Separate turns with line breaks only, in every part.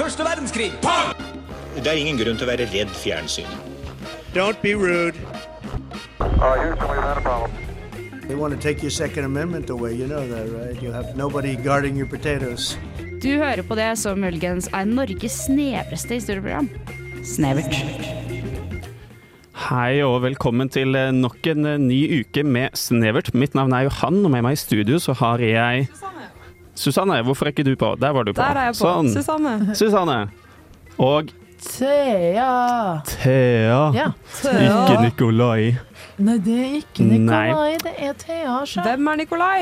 Første verdenskrig! Pang!
Det er ingen grunn til å være redd fjernsyn.
Don't be rude.
Uh, Houston, we've had a problem.
They want to take your Second Amendment away. You know that, right? You have nobody guarding your potatoes.
Du hører på det som muligens er Norges snevreste historieprogram. Snevert.
Hei og velkommen til eh, nok en eh, ny uke med Snevert. Mitt navn er Johan, og med meg i studio så har jeg Susanne, hvorfor er ikke du på? Der var du på.
Der er jeg på.
Sånn.
Susanne.
Susanne. Og
Thea.
Thea.
Ja.
Ikke Nikolai.
Nei, det er ikke
Nei.
Nikolai, det er Thea. sjøl.
Hvem er Nikolai?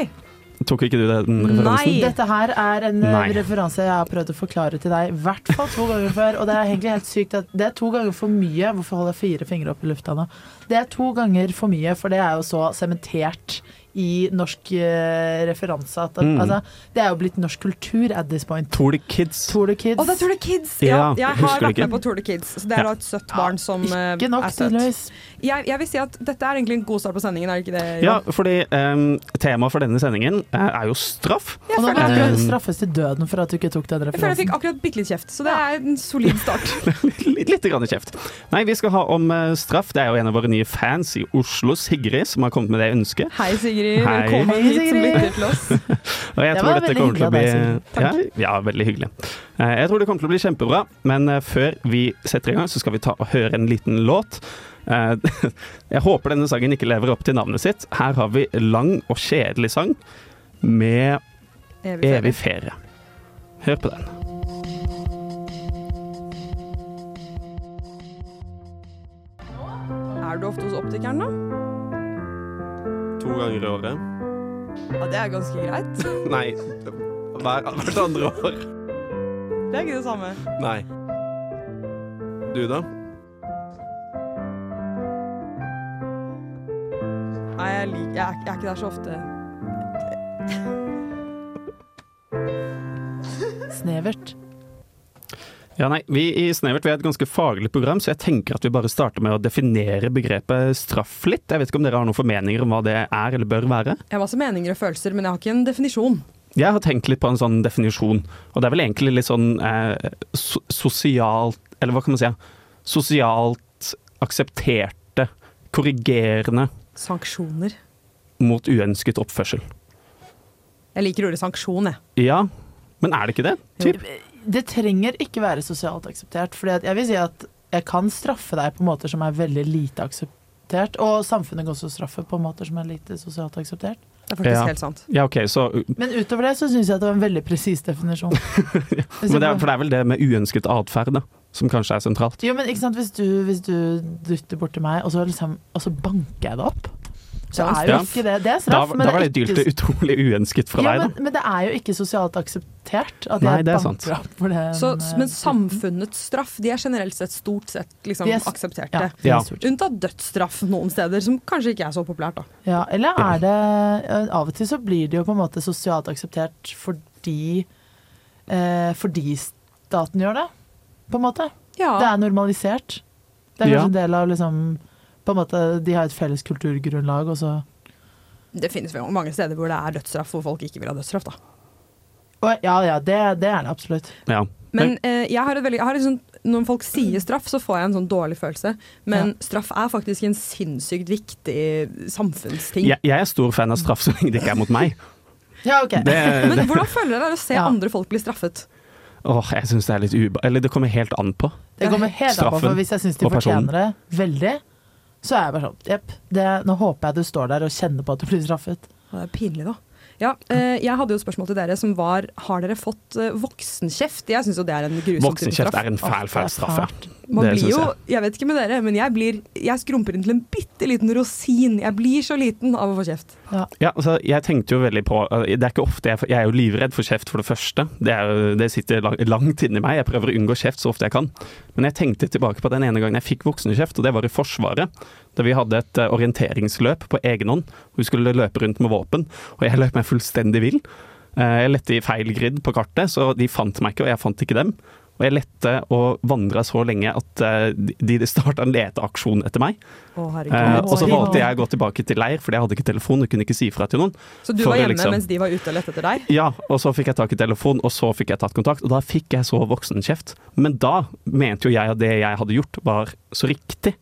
Tok ikke du den referansen?
Nei.
Dette her er en eh,
Nei.
referanse jeg har prøvd å forklare til deg i hvert fall to ganger før. Og det er egentlig helt sykt at det er to ganger for mye. Hvorfor holder jeg fire fingre opp i lufta nå? Det er to ganger for mye, for det er jo så sementert i norsk eh, referanse at altså, Det er jo blitt norsk kultur at this point.
Mm. Tror de kids.
Tour de kids.
Å, det er Tour de Kids!
Ja,
Ja, jeg
husker
har
du
vært
ikke?
med på Tour de Kids, så det
Ja.
er da et søtt barn som eh,
ikke nok,
er søtt.
tydeligvis.
Jeg, jeg vil si at dette er egentlig en god start på sendingen, er det ikke det?
Ja, fordi em, temaet for denne sendingen eh, er jo straff.
Jeg føler
Og nå
jeg,
kan
akkurat-
du straffes til døden for at du ikke tok
jeg,
den
føler jeg
referansen.
fikk akkurat bitte litt kjeft, så det er en solid start.
Litt, litt grann kjeft. Nei, vi skal ha om eh, straff. Det er jo en av våre nye fans i Oslo, Sigrid, som har kommet med det ønsket.
Hei, Sigrid.
Hei.
Velkommen
Hei,
hit som
Sigrid.
lytter til oss.
Og jeg
Det
tror dette
var veldig
kommer til å bli
hyggelig av
ja, ja, veldig hyggelig. Eh, Jeg tror det kommer til å bli kjempebra, men eh, før vi setter i gang, så skal vi ta og høre en liten låt. Eh, Jeg håper denne sangen ikke lever opp til navnet sitt. Her har vi lang og kjedelig sang med
Evig
Evig
ferie.
ferie. Hør på den.
Er du ofte hos optikeren, da?
To ganger i året.
Ja, det er ganske greit.
Nei, hvert andre år.
Det er ikke det samme.
Nei. Du, da?
Nei, jeg, lik, jeg, er- jeg er ikke der så ofte.
Snevert.
Ja, nei, vi i Snevert vi er et ganske faglig program, så jeg tenker at vi bare starter med å definere begrepet straff litt. Jeg vet ikke om dere har noen formeninger om hva det er eller bør være?
Jeg har masse meninger og følelser, men jeg har ikke en definisjon.
Jeg har tenkt litt på en sånn definisjon, og det er vel egentlig litt sånn eh, so sosialt Eller hva kan man si? ja? Sosialt aksepterte, korrigerende
Sanksjoner.
mot uønsket oppførsel.
Jeg liker ordet sanksjon, jeg.
Ja, men er det ikke det? Typ.
Det trenger ikke være sosialt akseptert. For jeg vil si at jeg kan straffe deg på måter som er veldig lite akseptert. Og samfunnet kan også straffe på måter som er lite sosialt akseptert.
Det er faktisk
Ja.
helt sant.
Ja, OK, så
Men utover det så syns jeg at det var en veldig presis definisjon. Hvis
men det er,
jeg-
For det er vel det med uønsket atferd, da, som kanskje er sentralt.
jo, men ikke sant, hvis du, hvis du dytter bort til meg, og så, liksom, og så banker jeg det opp, så
Ja,
er jo
straff.
ikke det Det er
Da,
straff, men
da var det
det er ikke
dylte utrolig uønsket fra
ja,
deg, da.
men, men det er jo ikke sosialt akseptert at
Nei,
jeg
det er sant.
banker opp for eh, det.
Så, men samfunnets straff de er generelt sett stort sett liksom,
De er s-
aksepterte.
ja, det
Ja.
er stort.
Unntatt dødsstraff noen steder, som kanskje ikke er så populært. da.
Ja, eller er det eh, Av og til så blir det jo på en måte sosialt akseptert fordi eh, Fordi staten gjør det, på en måte.
Ja,
Det er normalisert. Det er kanskje
Ja.
en del av liksom på en måte, De har et felles kulturgrunnlag, og så
Det finnes jo mange steder hvor det er dødsstraff, hvor folk ikke vil ha dødsstraff. da.
og, Ja ja, det, det er det absolutt.
Ja.
Men eh, jeg har et veldig, jeg har liksom, når folk sier straff, så får jeg en sånn dårlig følelse. Men straff er faktisk en sinnssykt viktig samfunnsting.
Jeg, jeg er stor fan av straff så lenge det ikke er mot meg.
Ja, OK.
Eh, Det,
Men hvordan føler dere det er å se
Ja.
andre folk bli straffet?
åh, jeg syns det er litt uba... Eller det kommer helt an på.
Det kommer helt an på,
Straffen
for hvis jeg syns de
og personen.
fortjener det veldig, så er jeg bare sånn Jepp, det- nå håper jeg du står der og kjenner på at du blir straffet.
Ja, Det er pinlig, da. Ja, eh, jeg hadde jo et spørsmål til dere som var Har dere fått eh, voksenkjeft? Jeg syns jo det er en grusom type
Voksenkjeft er
straff.
en fæl,
Åh,
fæl
det er
straff,
fælt.
ja.
Man
Det
blir
syns
jo,
jeg.
jeg vet ikke med dere, men jeg, blir, jeg skrumper inn til en bitte liten rosin. Jeg blir så liten av å få kjeft.
Ja, altså, jeg tenkte jo veldig på eh, Det er ikke ofte jeg, jeg er jo livredd for kjeft, for det første. Det, er, jo- det sitter lang, langt inni meg. Jeg prøver å unngå kjeft så ofte jeg kan. Men jeg tenkte tilbake på den ene gangen jeg fikk voksenkjeft, og det var i Forsvaret. Da vi hadde et eh, orienteringsløp på egen hånd. Vi skulle løpe rundt med våpen, og jeg løp meg fullstendig vill. Eh, Jeg lette i feil grid på kartet, så de fant meg ikke, og jeg fant ikke dem. Og jeg lette og vandra så lenge at eh, de de starta en leteaksjon etter meg.
Å, herregud.
Eh, og så
Oi.
valgte jeg å gå tilbake til leir, fordi jeg hadde ikke telefon og kunne ikke si fra til noen.
så du
for
var
det
hjemme
liksom-
mens de var ute og lette etter deg?
Ja, og så fikk jeg tak i telefon, og så fikk jeg tatt kontakt, og da fikk jeg så voksenkjeft. Men da mente jo jeg at det jeg hadde gjort var så riktig,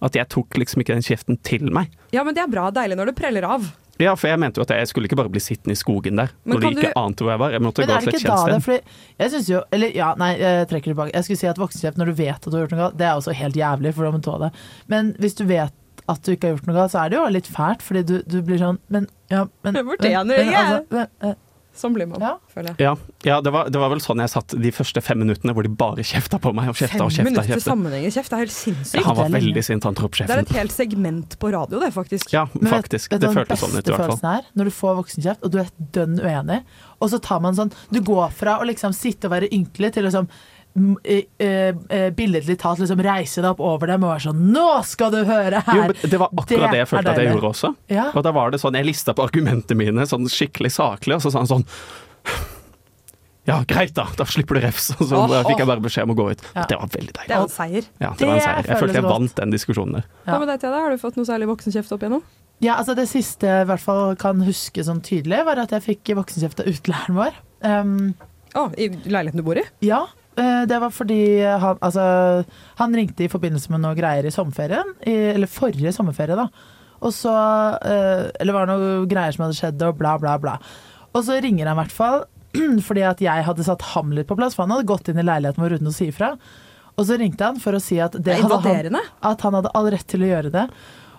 at jeg tok liksom ikke den kjeften til meg.
Ja, men det er bra. Deilig når det preller av.
Ja, for jeg mente jo at jeg skulle ikke bare bli sittende i skogen der,
Men
når de
kan
ikke
du-
ante hvor jeg var. Jeg måtte gå
Men er det
til et
ikke da det?
kjent sted.
Fordi jeg synes jo, eller ja, nei, jeg trekker det tilbake. Jeg skulle si at voksenkjeft når du vet at du har gjort noe galt, det er også helt jævlig, for da må du tåle det. Men hvis du vet at du ikke har gjort noe galt, så er det jo litt fælt, fordi du, du blir sånn Men ja, men
Jeg fortjener det,
men,
jeg.
men, eh,
Sånn blir man,
Ja.
føler jeg.
Ja, ja det, var, det var vel sånn jeg satt de første fem minuttene hvor de bare kjefta på meg og kjefta og
Fem
kjefta. og
minutter
kjefta.
sammenhengende kjeft, det er helt
Ja,
sinnssykt.
han
Det
var
er lenge.
veldig sint, han
Det er
troppsjefen.
et helt segment på radio, det, faktisk.
Ja,
men vet-
faktisk.
vet du
Det
hva den
føltes sånn ut
beste
i hvert fall.
følelsen Er, når du får voksenkjeft, og du er dønn uenig, og så tar man sånn Du går fra å liksom sitte og være ynkelig til å liksom m- eh, eh, eh, billedlig talt liksom reise deg opp over dem og være sånn Nå skal du høre
Jo,
her!
men det var akkurat det jeg
er
følte at jeg
deilig. Ah.
gjorde også.
Ja.
Og da var det sånn, jeg lista på argumentene mine sånn skikkelig saklig, og så sa han sånn Ja, greit da, da slipper du refs. Og så
Åh,
da fikk jeg bare beskjed om å gå ut.
Ja.
Det var veldig
Det
deilig.
er jo en seier.
Ja, det var en
Det
seier. Jeg
føles
følte jeg
godt.
vant den diskusjonen der.
Ja.
Hva med deg, Thea? da? Har du fått noe særlig voksenkjeft opp igjennom?
Ja, altså Det siste jeg i hvert fall kan huske sånn tydelig, var at jeg fikk voksenkjeft av utelæreren vår. Um,
Å, i leiligheten du bor i?
ja, eh, det var fordi han, altså, han ringte i forbindelse med noe greier i sommerferien. I, eller forrige sommerferie, da. Og så eh, Eller var det noe greier som hadde skjedd, og bla, bla, bla. Og så ringer han i hvert fall fordi at jeg hadde satt ham litt på plass, for han hadde gått inn i leiligheten vår uten å si ifra. Og så ringte han for å si at det
Det er
hadde han
invaderende.
at han hadde all rett til å gjøre det.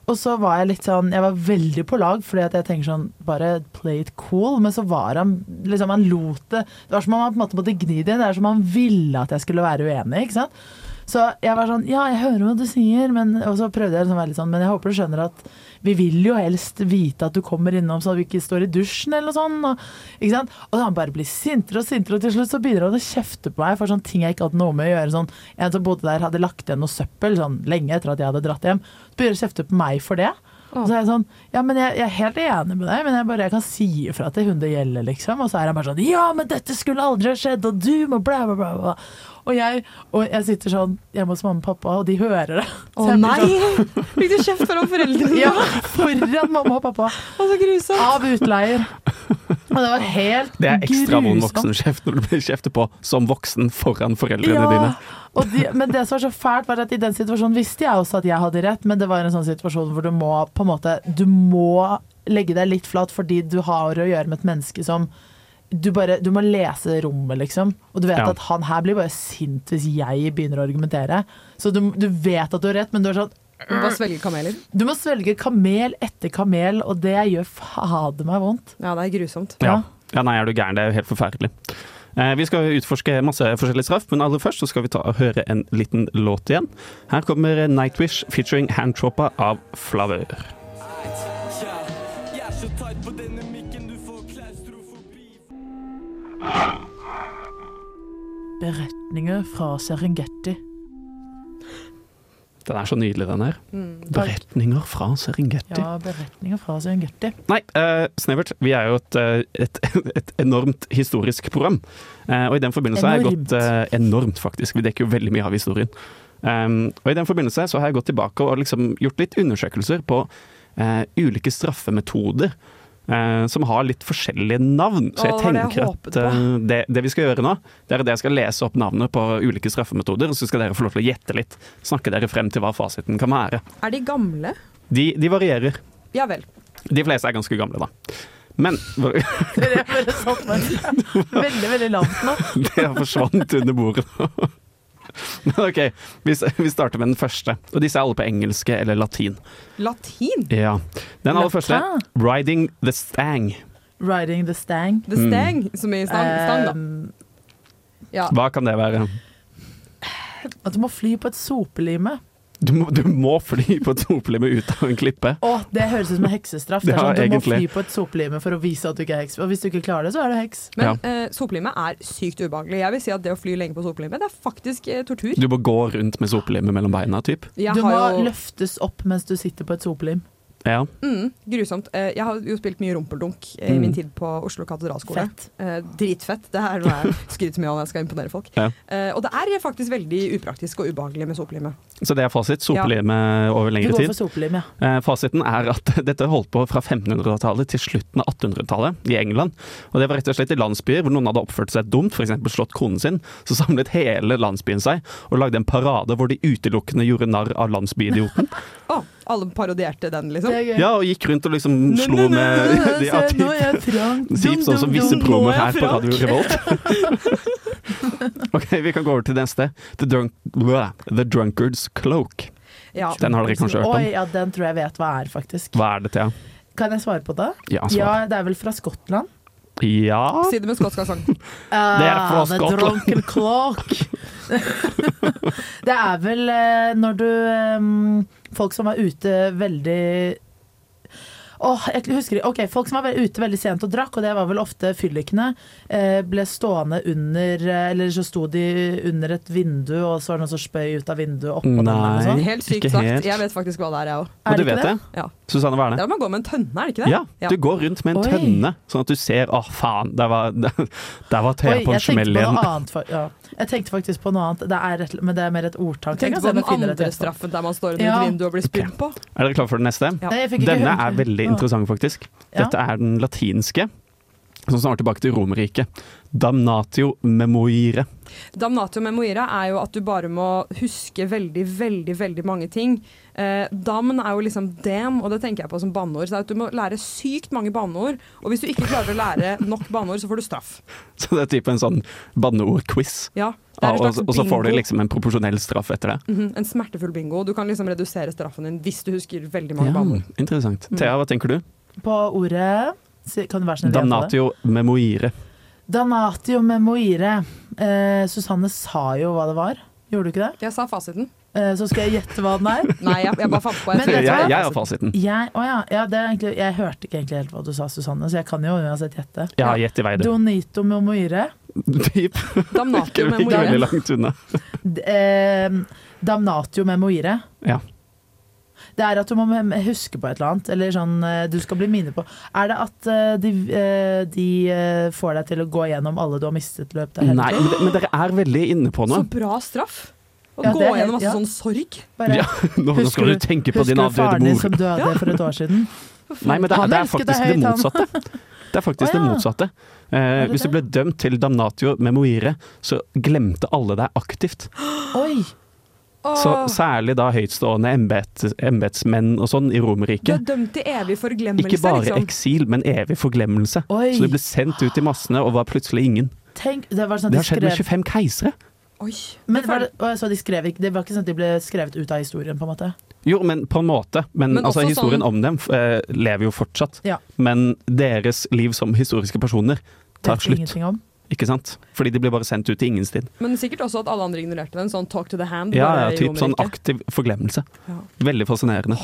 Og så var jeg litt sånn, jeg var veldig på lag, fordi at jeg tenker sånn, bare play it cool. Men så var han liksom, han lot det Det var som om han på en måte måtte gni det inn. Det er som om han ville at jeg skulle være uenig, ikke sant. Så jeg var sånn, ja, jeg hører hva du sier, men Og så prøvde jeg liksom å være litt sånn, men jeg håper du skjønner at vi vil jo helst vite at du kommer innom så du ikke står i dusjen eller noe sånt. Og, ikke sant? og han bare blir sintere og sintere, og til slutt så begynner han å kjefte på meg for sånne ting jeg ikke hadde noe med å gjøre. Sånn, en som bodde der, hadde lagt igjen noe søppel sånn, lenge etter at jeg hadde dratt hjem. Så begynner han å kjefte på meg for det. Og så er jeg sånn Ja, men jeg, jeg er helt enig med deg, men jeg bare jeg kan si ifra til hun det gjelder, liksom. Og så er han bare sånn Ja, men dette skulle aldri ha skjedd, og du må bla, bla, bla. bla. Og jeg, og jeg sitter sånn hjemme hos mamma og pappa, og de hører det.
Å
Så jeg blir
nei!
sånn,
Fikk du kjeft foran foreldrene?
Ja, foran mamma og pappa.
Å, så grusomt.
Av utleier. Og det var helt
Det er ekstra vond
grusomt.
voksenkjeft når du blir kjeftet på som voksen foran foreldrene dine.
Og de, men det som var så fælt, var at i den situasjonen visste jeg også at jeg hadde rett, men det var en sånn situasjon hvor du må på en måte Du må legge deg litt flat fordi du har å gjøre med et menneske som du, bare, du må lese rommet, liksom. Og du vet
Ja.
at han her blir bare sint hvis jeg begynner å argumentere. Så du, du vet at du har rett, men du er sånn
Du Bare svelger kameler.
Du må svelge kamel etter kamel, og det gjør fader meg vondt.
Ja, det er grusomt.
Ja. ja, nei, er du gæren. Det er jo helt forferdelig. Eh, Vi skal utforske masse forskjellig straff, men aller først så skal vi ta og høre en liten låt igjen. Her kommer Nightwish featuring Handtroppa av Flavør.
Beretninger fra Serengeti.
Den er så nydelig, den her.
Mm.
Beretninger fra Serengeti.
Ja, beretninger fra Serengeti.
Nei, eh, Snevert, vi er jo et, eh, et, et enormt historisk program. Eh, og i den forbindelse har jeg
Enormt.
gått eh, Enormt, faktisk. Vi dekker jo veldig mye av historien. Um, og i den forbindelse så har jeg gått tilbake og liksom gjort litt undersøkelser på eh, ulike straffemetoder. eh, som har litt forskjellige navn. Så jeg
Å, det var det jeg
tenker at
håpet
eh, det, det vi skal gjøre nå, det er at jeg skal lese opp navnet på ulike straffemetoder, og så skal dere få lov til å gjette litt. Snakke dere frem til hva fasiten kan være.
Er de gamle?
De, de varierer.
Ja vel.
De fleste er ganske gamle, da. Men
Dere bare satt meg veldig, veldig lavt nå.
det forsvant under bordet. Men OK, vi, s- vi starter med den første. Og disse er alle på engelske eller latin.
Latin?
Ja. Den aller
Latin.
første, 'Riding the Stang'.
Riding the stang.
The stang, som i stang, stang da.
Um,
Mm.
Ja.
Eh, Hva kan det være?
at du må fly på et sopelime.
Du må, du må fly på et sopelime ut av en klippe.
Å, det høres ut som en heksestraff. Det er
Ja,
sånn, du
egentlig.
må fly på et sopelime for å vise at du ikke er heks. Og hvis du ikke klarer det, så er du heks.
Men eh, sopelime er sykt ubehagelig. Jeg vil si at det å fly lenge på sopelime, det er faktisk eh, tortur.
Du må gå rundt med sopelime mellom beina, typ.
Jeg
Du må
har jo
løftes opp mens du sitter på et sopelim.
Ja.
Mm, grusomt. Eh, Jeg har jo spilt mye rumpeldunk eh, i
Mm.
min tid på Oslo katedralskole.
Fett.
Eh, Dritfett. Det er noe jeg skryter mye av når jeg skal imponere folk.
Ja.
Eh, Og det er faktisk veldig upraktisk og ubehagelig med sopelime.
Så det er fasit. Sopelime over
Vi
lengre
går
tid.
for sopelim, ja.
Eh, Fasiten er at dette holdt på fra 1500-tallet til slutten av 1800-tallet i England. Og det var rett og slett i landsbyer hvor noen hadde oppført seg dumt, f.eks. slått konen sin. Så samlet hele landsbyen seg og lagde en parade hvor de utelukkende gjorde narr av landsbyidioten.
Å, alle parodierte den,
Det
liksom.
er gøy.
Ja, og gikk rundt og liksom slo med de ja,
Se, nå
typ-
er jeg Frank. Dum,
Sip, sånn som
dum,
visse
dum, nå
promoer
er jeg
her på Radio
Frank.
Revolt. ok, vi kan gå over til neste. The, drunk, blæ, The Drunkard's Cloak.
Ja.
Den har dere kanskje hørt
Oi,
om?
ja, den tror jeg vet hva er, faktisk.
Hva er det, Thea?
Kan jeg svare på det?
Ja,
Ja,
svar.
det er vel fra Skottland?
Ja
Si det med skotsk aksent.
Det
er fra Skottland.
Ah, Drunken clock. det er vel eh, når du eh, Folk som er ute veldig Åh, jeg husker ikke. Ok, Folk som var ve- ute veldig sent og drakk, og det var vel ofte fyllikene, eh, ble stående under eh, Eller så sto de under et vindu, og så var det noen som spøy ut av vinduet oppå dem. eller noe
Nei.
sånt.
Helt sykt
ikke
sagt.
helt.
Jeg vet faktisk hva det er, jeg òg.
Er
Og du
det ikke
vet det?
Ja.
Susanne, hva er
Det
det?
er at man går med en tønne, er det ikke det?
Ja, du går rundt med en
Oi.
tønne, sånn at du ser Å, faen, der var, der var Thea
Oi,
på en
jeg tenkte
smell
på
igjen.
noe annet. fa- Ja. Jeg tenkte faktisk på noe annet, det er et, men det er mer et ordtak. Jeg
Tenk
kan
på
se om
den
jeg finner et
andre
rett ord.
straffen der man står under
Ja.
et vindu og blir spydd på.
Er dere klare for den neste?
Ja.
Nei, jeg fikk ikke
Denne
hørt
er
den.
veldig
Ja.
interessant, faktisk.
Ja.
Dette er den latinske, som snart tilbake til Romerriket. Damnatio memoire.
Damnatio memoira er jo at du bare må huske veldig, veldig veldig mange ting. Eh, damn er jo liksom dem, og det tenker jeg på som banneord. Så det er at du må lære sykt mange banneord, og hvis du ikke klarer å lære nok banneord, så får du straff.
Så det er typ en sånn banneord-quiz.
Ja, det
Ja,
er en
og,
slags
så- og så får du
bingo.
liksom en proporsjonell straff etter det.
Mhm, En smertefull bingo. Du kan liksom redusere straffen din hvis du husker veldig mange
Ja,
banneord.
interessant.
Mm.
Thea, hva tenker du?
På ordet si- Kan du være snill å gjenta det?
Damnatio memoire.
Damnatio memoire. Eh, Susanne sa jo hva det var, gjorde du ikke det?
Jeg sa fasiten.
Eh, så skal jeg gjette hva den er.
Nei, jeg, jeg bare fant på. Jeg
Men
tror
Jeg,
vet
jeg
du hva?
jeg har fasiten.
Jeg, å ja, ja, det er egentlig, jeg hørte ikke egentlig helt hva du sa, Susanne, så jeg kan jo uansett gjette.
Ja, gjett i vei, du.
Donito memoire.
Typ.
Damnatio
Ikke ikke veldig
memoira.
langt unna.
D- Eh, damnatio memoire.
Ja.
Det er at du må mem- huske på et eller annet, eller sånn eh, du skal bli minnet på. Er det at eh, de, eh, de eh, får deg til å gå gjennom alle du har mistet i løpet av hele
Nei, men, men dere er veldig inne på
Så
noe.
bra straff! Å
Ja,
gå
det er helt-
gjennom masse
ja.
sånn sorg.
Bare-
Ja, nå, nå skal du tenke på din
Husker du
avdøde
faren din
mor.
som døde for et år siden?
Nei, men det,
Han
det er
elsket deg
faktisk det
høyt, han.
motsatte. Det er faktisk
Å, ja.
det motsatte. Eh,
det
hvis du ble dømt til damnatio memoire, så glemte alle deg aktivt.
Oi!
Så
Åh,
særlig da høytstående embet, embetsmenn og sånn i
du er
Romerriket.
dømt til evig forglemmelse,
Ikke bare
liksom.
eksil, men evig forglemmelse.
Oi.
Så de ble sendt ut i massene og var plutselig ingen.
Tenk, det var sånn at
Det
de
har skjedd med
skrev
25 keisere.
Oi.
men var det, å, så de skrev ikke, det var ikke sånn at de ble skrevet ut av historien, på en måte?
Jo, men på en måte. Men,
Men
altså,
også
historien
sånn-
om dem eh, lever jo fortsatt.
Ja.
Men deres liv som historiske personer
Det
tar
vet jeg
slutt,
ingenting om.
ikke sant? Fordi de blir bare sendt ut i ingen sted.
Men sikkert også at alle andre ignorerte den. Sånn talk to the hand.
Ja,
bare
ja
i
typ sånn
Romerike.
aktiv forglemmelse.
Ja.
Veldig fascinerende.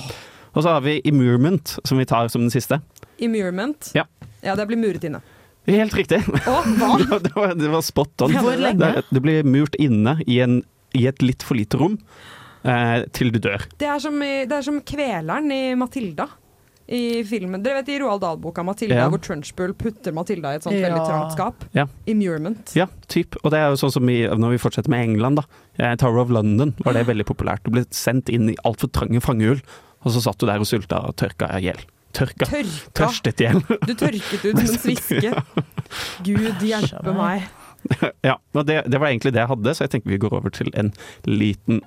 Og så har vi immurement, som vi tar som den siste.
Immurement.
Ja.
ja, det blir muret inne.
Helt riktig!
Å, hva?
Det var, det var, det var spot on.
Hvor lenge?
Det, det blir murt inne i, en, i et litt for lite rom eh, til du dør.
Det er, som, i- det er som kveleren i Matilda. I filmen, Dere vet i Roald Dahl-boka 'Matilda',
Ja.
hvor Trunchbull putter Matilda i et sånt
Ja.
veldig trangt skap.
Ja.
Immurement.
Ja, typ. Og det er jo sånn som i, når vi fortsetter med England, da. Eh, Tower of London var det veldig populært. Du ble sendt inn i altfor trange fangehull, og så satt du der og sulta og tørka i hjel. Tørka.
Tørka.
Tørstet i hjel.
Du tørket ut som en sviske. Gud hjelpe meg.
Ja, og det, det var egentlig det jeg hadde, så jeg tenker vi går over til en liten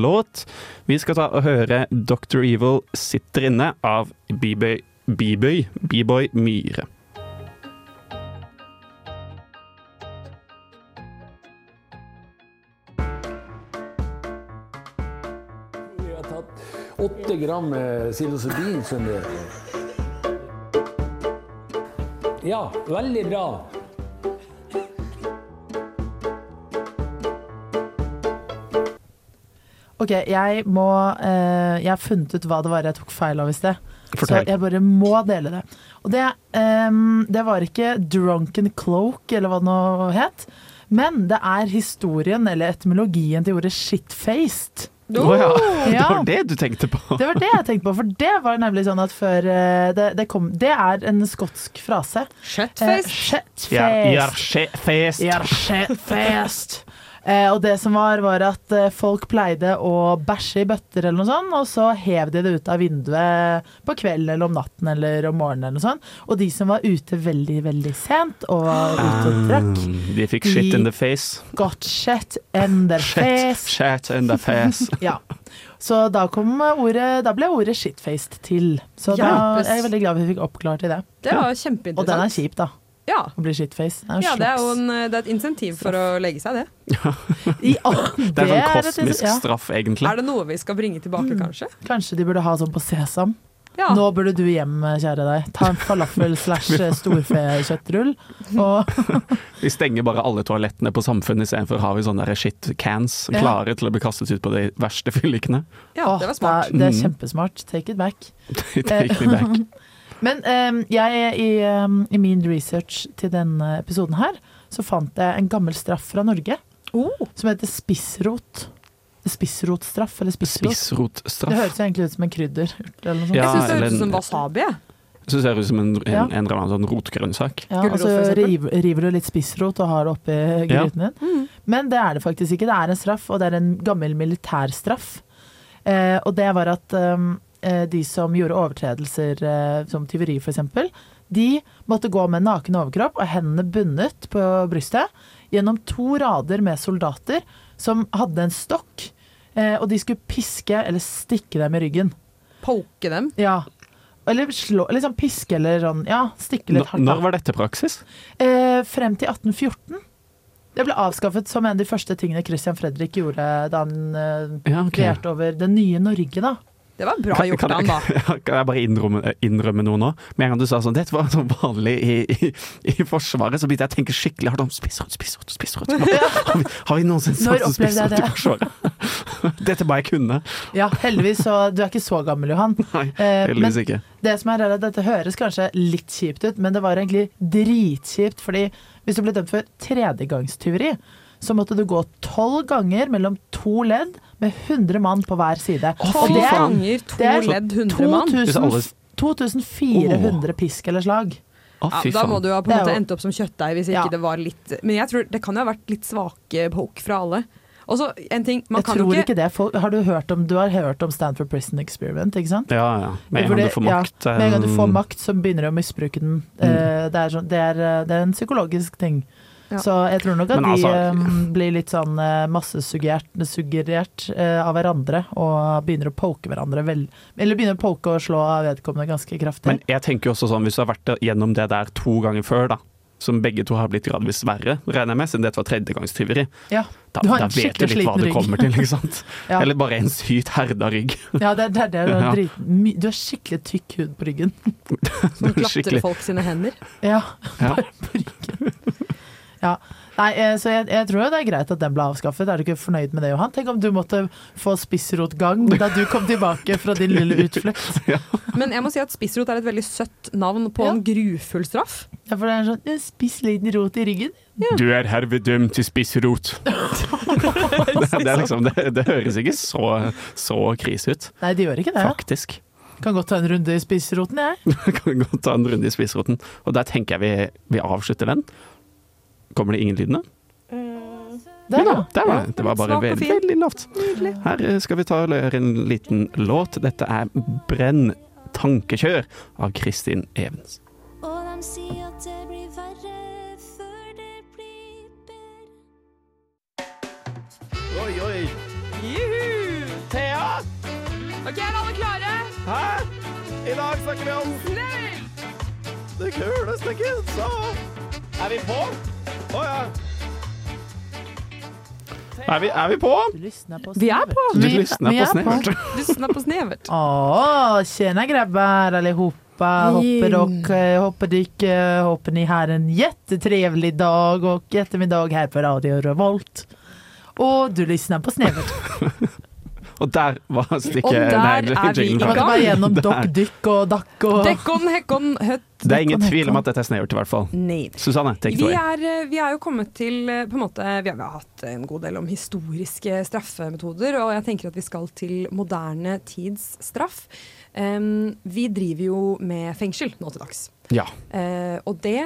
låt. Vi skal ta og høre Dr. Evil sitter inne av B-boy B-boy B-boy Myhre.
Jeg har tatt åtte gram eh, psilocybin, skjønner du. Ja, veldig bra.
Ok, jeg må eh, Jeg har funnet ut hva det var jeg tok feil av i sted. Så
Fortell.
jeg bare må dele det. Og det, ehm, det var ikke Drunken Cloak, eller hva det nå het. Men det er historien, eller etymologien, til ordet shitfaced.
Å ja. Det
Ja.
var det du tenkte på.
Det var det jeg tenkte på, for det var nemlig sånn at før eh, det, det kom Det er en skotsk frase. Eh,
Shutfest.
Shitfest.
Ja, ja, skje- fest.
Ja, shitfest. Eh, og det som var, var at eh, folk pleide å bæsje i bøtter eller noe sånt, og så hev de det ut av vinduet på kvelden eller om natten eller om morgenen eller noe sånt. Og de som var ute veldig, veldig sent og var ute
Ah.
og drakk,
De fikk shit in the face.
got shit in their
Shit,
face.
shit in the face.
Ja. Så da, kom ordet, da ble ordet shitfaced til. Så da
Hjelpes.
er jeg veldig glad vi fikk oppklart i det.
Det var
Og den er
kjempeinteressant.
kjip, da.
Ja.
Å bli shitfaced. Det er,
ja, det er jo en, eh, det er et insentiv for å legge seg, det.
I, å,
Det er sånn
et-
kosmisk
ja,
straff, egentlig.
Er det noe vi skal bringe tilbake, kanskje?
Kanskje de burde ha sånn på Sesam.
Ja.
Mm. Nå burde du hjem, kjære deg. Ta en falafel slash storfekjøttrull. Og
Vi stenger bare alle toalettene på Samfunnet istedenfor har vi sånne der shit cans
Ja.
klare til å bli kastet ut på de verste fyllikene.
ja,
Åh,
det var smart.
Det er, det er
Mm.
kjempesmart. Take it back.
Take me back.
Men eh, jeg, i, eh, i min research til denne episoden her, så fant jeg en gammel straff fra Norge
Oh,
som heter spissrot. Spissrotstraff, eller spissrot. Det
Spissrotstraff.
høres jo egentlig ut som en krydderurt eller noe sånt.
jeg
Ja,
syns det
eller
høres ut
en-
som wasabi. jeg.
Så ser det ut som en, en,
Ja.
en eller annen sånn rotgrønnsak.
Ja,
Gulrot,
og så
for eksempel.
river, river du litt spissrot og har det oppi
Ja.
gryten din.
Mm.
Men det er det faktisk ikke. Det er en straff, og det er en gammel militærstraff. Eh, og det var at um, eh, de som gjorde overtredelser eh, som tyveri f.eks., de måtte gå med naken overkropp og hendene bundet på brystet gjennom to rader med soldater som hadde en stokk, eh, og de skulle piske eller stikke dem i ryggen.
Poke dem.
Ja. Eller slå, liksom piske eller sånn, ja, stikke litt
N-
hardt. da.
Når var dette praksis?
Eh, frem til 1814. Det ble avskaffet som en av de første tingene Christian Fredrik gjorde da han eh,
Ja, ok.
regjerte over det nye Norge, da.
Det var bra
Kan-
gjort
kan
av
jeg-
han, da.
Kan jeg bare innrømme, innrømme noe nå? Med en gang du sa sånn, dette var sånn vanlig i, i, i Forsvaret, så begynte jeg å tenke skikkelig hardt om spissrot, spissrot, spissrot. Har vi, har vi noensinne
Når
snakket om
opplevde
spissrot
jeg
i Forsvaret? Dette må jeg kunne.
Ja, heldigvis, så du er ikke så gammel, Johan.
Nei,
Eh, men
heldigvis ikke.
det som er, er at dette høres kanskje litt kjipt ut, men det var egentlig dritkjipt. Fordi hvis du ble dømt for tredjegangstyveri, så måtte du gå tolv ganger mellom to ledd med 100 mann på hver side.
Tolv
det er
ganger, to
det er sånn
ledd, 100 mann.
2000
Hvis alle-
2400 pisk eller slag.
Å,
Ja,
fy
da må
faen.
du ha på
Det
en
er
måte
jo-
endt opp som kjøttdeig hvis
Ja.
ikke det var litt Men jeg tror det kan jo ha vært litt svake poke fra alle. Og så en ting, man
jeg
kan
tror
jo
ikke,
ikke
det. Folk, har du, hørt om, du har hørt om Stanford Prison Experiment, ikke sant?
Ja, ja. Med en gang
Hvor det-
du får
ja,
makt. Mm.
Med en gang du får
eh,
makt, så begynner du å misbruke den. Eh, det, er sånn, det, er, eh, det er en psykologisk ting.
Ja.
Så jeg tror nok at
Men altså-
de eh, blir litt sånn eh, massesuggerert suggerert, eh, av hverandre, og begynner å poke hverandre vel Eller begynner å poke og slå vedkommende ganske kraftig.
Men jeg tenker jo også sånn, hvis du har vært gjennom det der to ganger før, da, som begge to har blitt gradvis verre, regner jeg med, siden dette var tredjegangstyveri,
ja.
da,
Du har en
da vet du
skikkelig
litt hva
sliten
du
rygg.
kommer til, ikke sant?
Ja.
Eller bare en sykt herda rygg.
ja, det er det. er det. Du har
Ja.
drit- my- Du har skikkelig tykk hud på ryggen.
som klatrer
skikkelig.
folk sine hender.
Ja,
Ja.
bare på ryggen. Ja. Nei, eh, så jeg, jeg tror jo det er greit at den ble avskaffet. Er du ikke fornøyd med det, Johan? Tenk om du måtte få spissrotgang da du kom tilbake fra din lille utflukt.
Men jeg må si at spissrot er et veldig søtt navn på
Ja.
en grufull straff.
Ja, for det er sånn eh, Spiss liten rot i ryggen.
Du er herved dømt til spissrot. det, det, er liksom, det, det høres ikke så, så krise ut,
Nei, det gjør ikke det.
faktisk.
Kan godt ta en runde i spissroten, jeg.
Vi kan godt ta en runde i spissroten. Og der tenker jeg vi, vi avslutter den. Kommer det ingen lydene?
Der, da.
Der var det. Det var bare
Svak og
veldig,
fin.
veldig lavt. Her eh, skal vi ta og gjøre en liten låt. Dette er 'Brenn tankekjør' av Kristin Evens.
Og de sier at det blir verre før det blir bedre.
Ok, er alle klare?
Er vi, er vi på?
Du lysner på
Vi er på!
Du
Vi-
lysner
vi
på
er på.
snevert.
Du snapper snevert.
Å, tjena grabbar allihopa. Hopper och, eh, hopper dyk, eh, hopper ni här en jättetrevlig dag och eftermiddag här på Radio Revolt. Och du lyssnar på Snevert.
Og der var stikket
Og der
nei,
er vi i
jinglen
Vi
ferdig.
måtte
gang.
bare gjennom
Det er-
dokk, dykk og dakk og
Dekkon, hekkon, høtt.
Det er ingen
Nikon,
tvil om
Nikon.
at dette er snevert, i hvert fall.
Nei.
Susanne, take it
Vi
away.
er, eh, vi er jo kommet til eh, på en måte, Vi har, vi har hatt en god del om historiske straffemetoder, og jeg tenker at vi skal til moderne tids straff. Em, vi driver jo med fengsel nå til dags.
Ja.
Eh, og det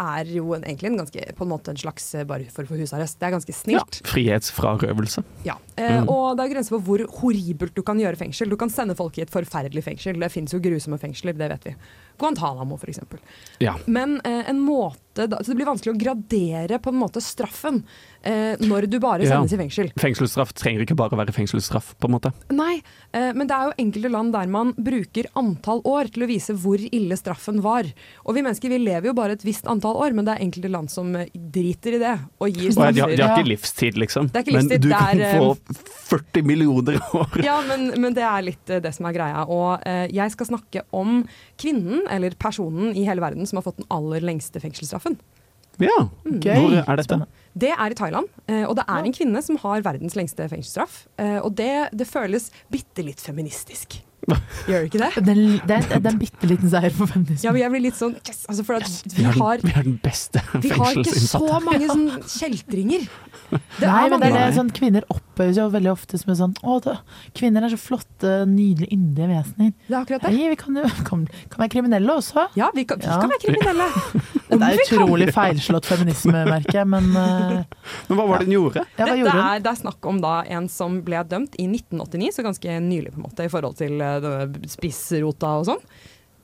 er jo en, egentlig en, ganske, på en måte en slags eh, bare for, for husarrest. Det er ganske
ja.
snilt.
Frihetsfrarøvelse.
Ja. Eh,
Mm.
Og det er grenser for hvor horribelt du kan gjøre fengsel. Du kan sende folk i et forferdelig fengsel. Det fins jo grusomme fengsler, det vet vi. Guantánamo, f.eks.
Ja.
Men eh, en måte da, Så det blir vanskelig å gradere på en måte straffen eh, når du bare
Ja.
sendes i fengsel.
Fengselsstraff trenger ikke bare å være fengselsstraff, på en måte.
Nei, eh, men det er jo enkelte land der man bruker antall år til å vise hvor ille straffen var. Og vi mennesker vi lever jo bare et visst antall år, men det er enkelte land som eh, driter i det og gir
Og de, har, de har
straffer.
Ja.
ikke livstid, liksom.
Det er ikke livstid,
Men du
det
kan
er, eh,
få 40 millioner år.
Ja, men, men det er litt eh, det som er greia. Og eh, jeg skal snakke om kvinnen, eller personen i hele verden, som har fått den aller lengste fengselsstraffen.
Ja.
Mm.
Gøy.
Hvor er dette?
Det er i Thailand, eh, og det er en kvinne som har verdens lengste fengselsstraff. eh, Og det, det føles bitte litt feministisk. Gjør det ikke det?
Den, det er det er en bitte liten seier for
Ja,
feminismen.
men jeg blir litt sånn yes, altså For at vi
Vi har,
har
den- vi har den beste
vi har ikke så
fengselsinnsatte.
mange sånn kjeltringer. Det
Nei,
er
men det
mange.
er det,
Nei.
sånn, Kvinner opphøyes jo veldig ofte som en sånn Å, da, kvinner er så flotte, nydelige, inderlige vesener.
Det er akkurat det.
Nei, vi kan jo kan, kan være kriminelle også.
Ja, vi kan, vi
Ja.
kan være kriminelle. vi
Det er
kan.
utrolig feilslått feminisme, merker jeg, men eh,
Men hva var det den gjorde?
ja, hva
Dette
gjorde hun?
er, det er snakk om da en som ble dømt i 1989, så ganske nylig på en måte i forhold til eh, denne spissrota og sånn.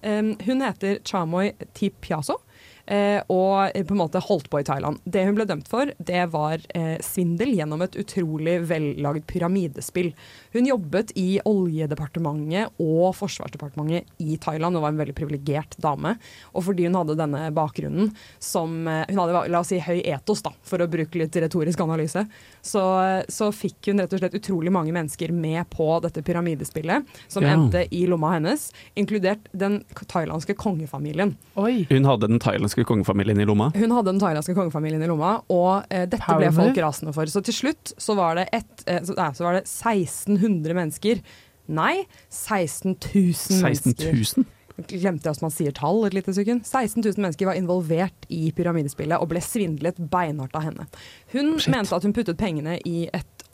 Um, hun heter Chamoy Tipyaso eh, og eh, på en måte holdt på i Thailand. Det hun ble dømt for, det var eh, svindel gjennom et utrolig vellagd pyramidespill. Hun jobbet i Oljedepartementet og Forsvarsdepartementet i Thailand og var en veldig privilegert dame. Og fordi hun hadde denne bakgrunnen som eh, Hun hadde la oss si, høy etos, da, for å bruke litt retorisk analyse. Så, så fikk hun rett og slett utrolig mange mennesker med på dette pyramidespillet, som
Ja.
endte i lomma hennes, inkludert den thailandske kongefamilien.
Oi.
Hun hadde den thailandske kongefamilien i lomma.
Hun hadde den thailandske kongefamilien i lomma, og eh, dette
Power
ble folk
move.
rasende for. Så til slutt så var det, et, eh, så, nei, så var det 1600 mennesker. Nei, 16 000
16
mennesker.
000?
Glemte jeg at man sier tall et lite sekund. 16 000 mennesker var involvert i pyramidespillet og ble svindlet beinhardt av henne. Hun
Shit.
mente at hun puttet pengene i et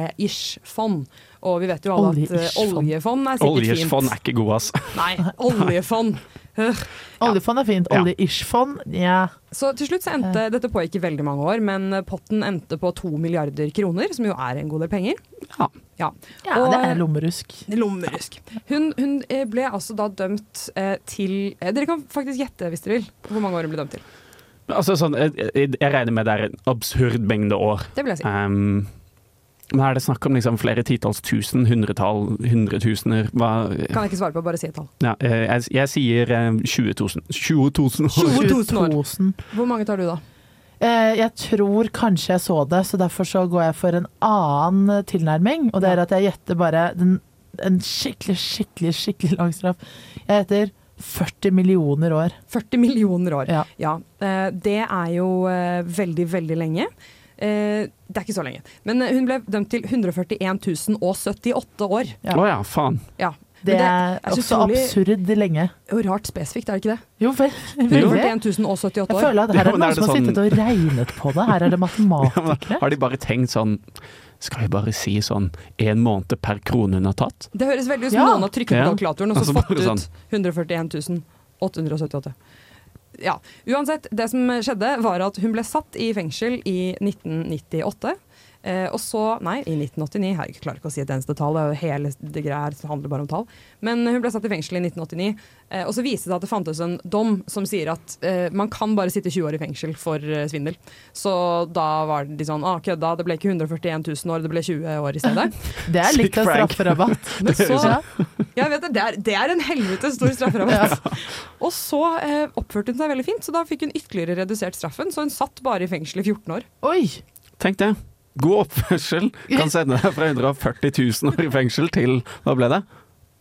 olje-ish-fond. Og vi vet jo alle at eh,
Olje-ish-fond.
oljefond er sikkert
Oljers fond
fint.
er ikke gode, ass.
Nei, oljefond. Øh.
Oljefond er fint.
Ja.
Olje-ish-fond, ja.
Så til slutt så endte dette på ikke veldig mange år, men potten endte på to milliarder kroner, som jo er en god del penger.
Ja.
Ja.
ja
Og-
det er lommerusk.
Lommerusk. Hun, hun eh, ble altså da dømt eh, til eh, Dere kan faktisk gjette hvis dere vil hvor mange år hun ble dømt til.
Altså, sånn, jeg, jeg jeg regner med det er en absurd mengde år.
Det vil jeg si.
Um, men er det snakk om liksom flere titalls tusen, hundretall, hundretusener? Hva
Kan jeg ikke svare på, bare si et tall.
ja, eh, jeg, jeg sier eh, 20 000. 20 000 år.
2000 år.
2000.
Hvor mange tar du, da?
Eh, Jeg tror kanskje jeg så det, så derfor så går jeg for en annen eh, tilnærming. Og det er at jeg gjetter bare den, en skikkelig, skikkelig, skikkelig lang straff. Jeg gjetter 40 millioner år.
40 millioner år.
Ja.
eh, Det er jo eh, veldig, veldig lenge. Eh, Det er ikke så lenge. Men eh, hun ble dømt til 141 078 år.
Ja.
Å ja, faen.
Ja. Men
Det er
så
også
utrolig-
absurd lenge.
og rart spesifikt, er det ikke det?
Jo, vel.
Jo.
veldig.
141 078
Jeg
år.
føler at her
Jo,
er det
men er
noen
det
som har
sånn-
sittet og regnet på det. Her er det matematikere.
Har de bare tenkt sånn Skal vi bare si sånn én måned per krone hun har tatt?
Det høres veldig ut som
Ja.
noen har trykket på
Ja.
kalkulatoren og så
Altså,
fått
bare sånn.
ut 141 878. Ja. Uansett, det som skjedde var at hun ble satt i fengsel i 1998. Eh, og så, nei, i 1989, her, jeg klarer ikke å si et eneste tall, det er jo hele det greia her handler bare om tall. Men hun ble satt i fengsel i 1989, eh, og så viste det seg at det fantes en dom som sier at eh, man kan bare sitte 20 år i fengsel for eh, svindel. Så da var de sånn, ah, kødda, det ble ikke 141 000 år, det ble 20 år i stedet.
Det er litt
Sick
av
prank. sånn.
strafferabatt.
Men så,
Ja.
jeg vet det, det, er, det er en helvete stor strafferabatt. Og så eh, oppførte hun seg veldig fint, så da fikk hun ytterligere redusert straffen. Så hun satt bare i fengsel i 14 år.
Oi!
Tenk det. God oppførsel kan sende deg fra 140 000 år i fengsel til Hva ble det?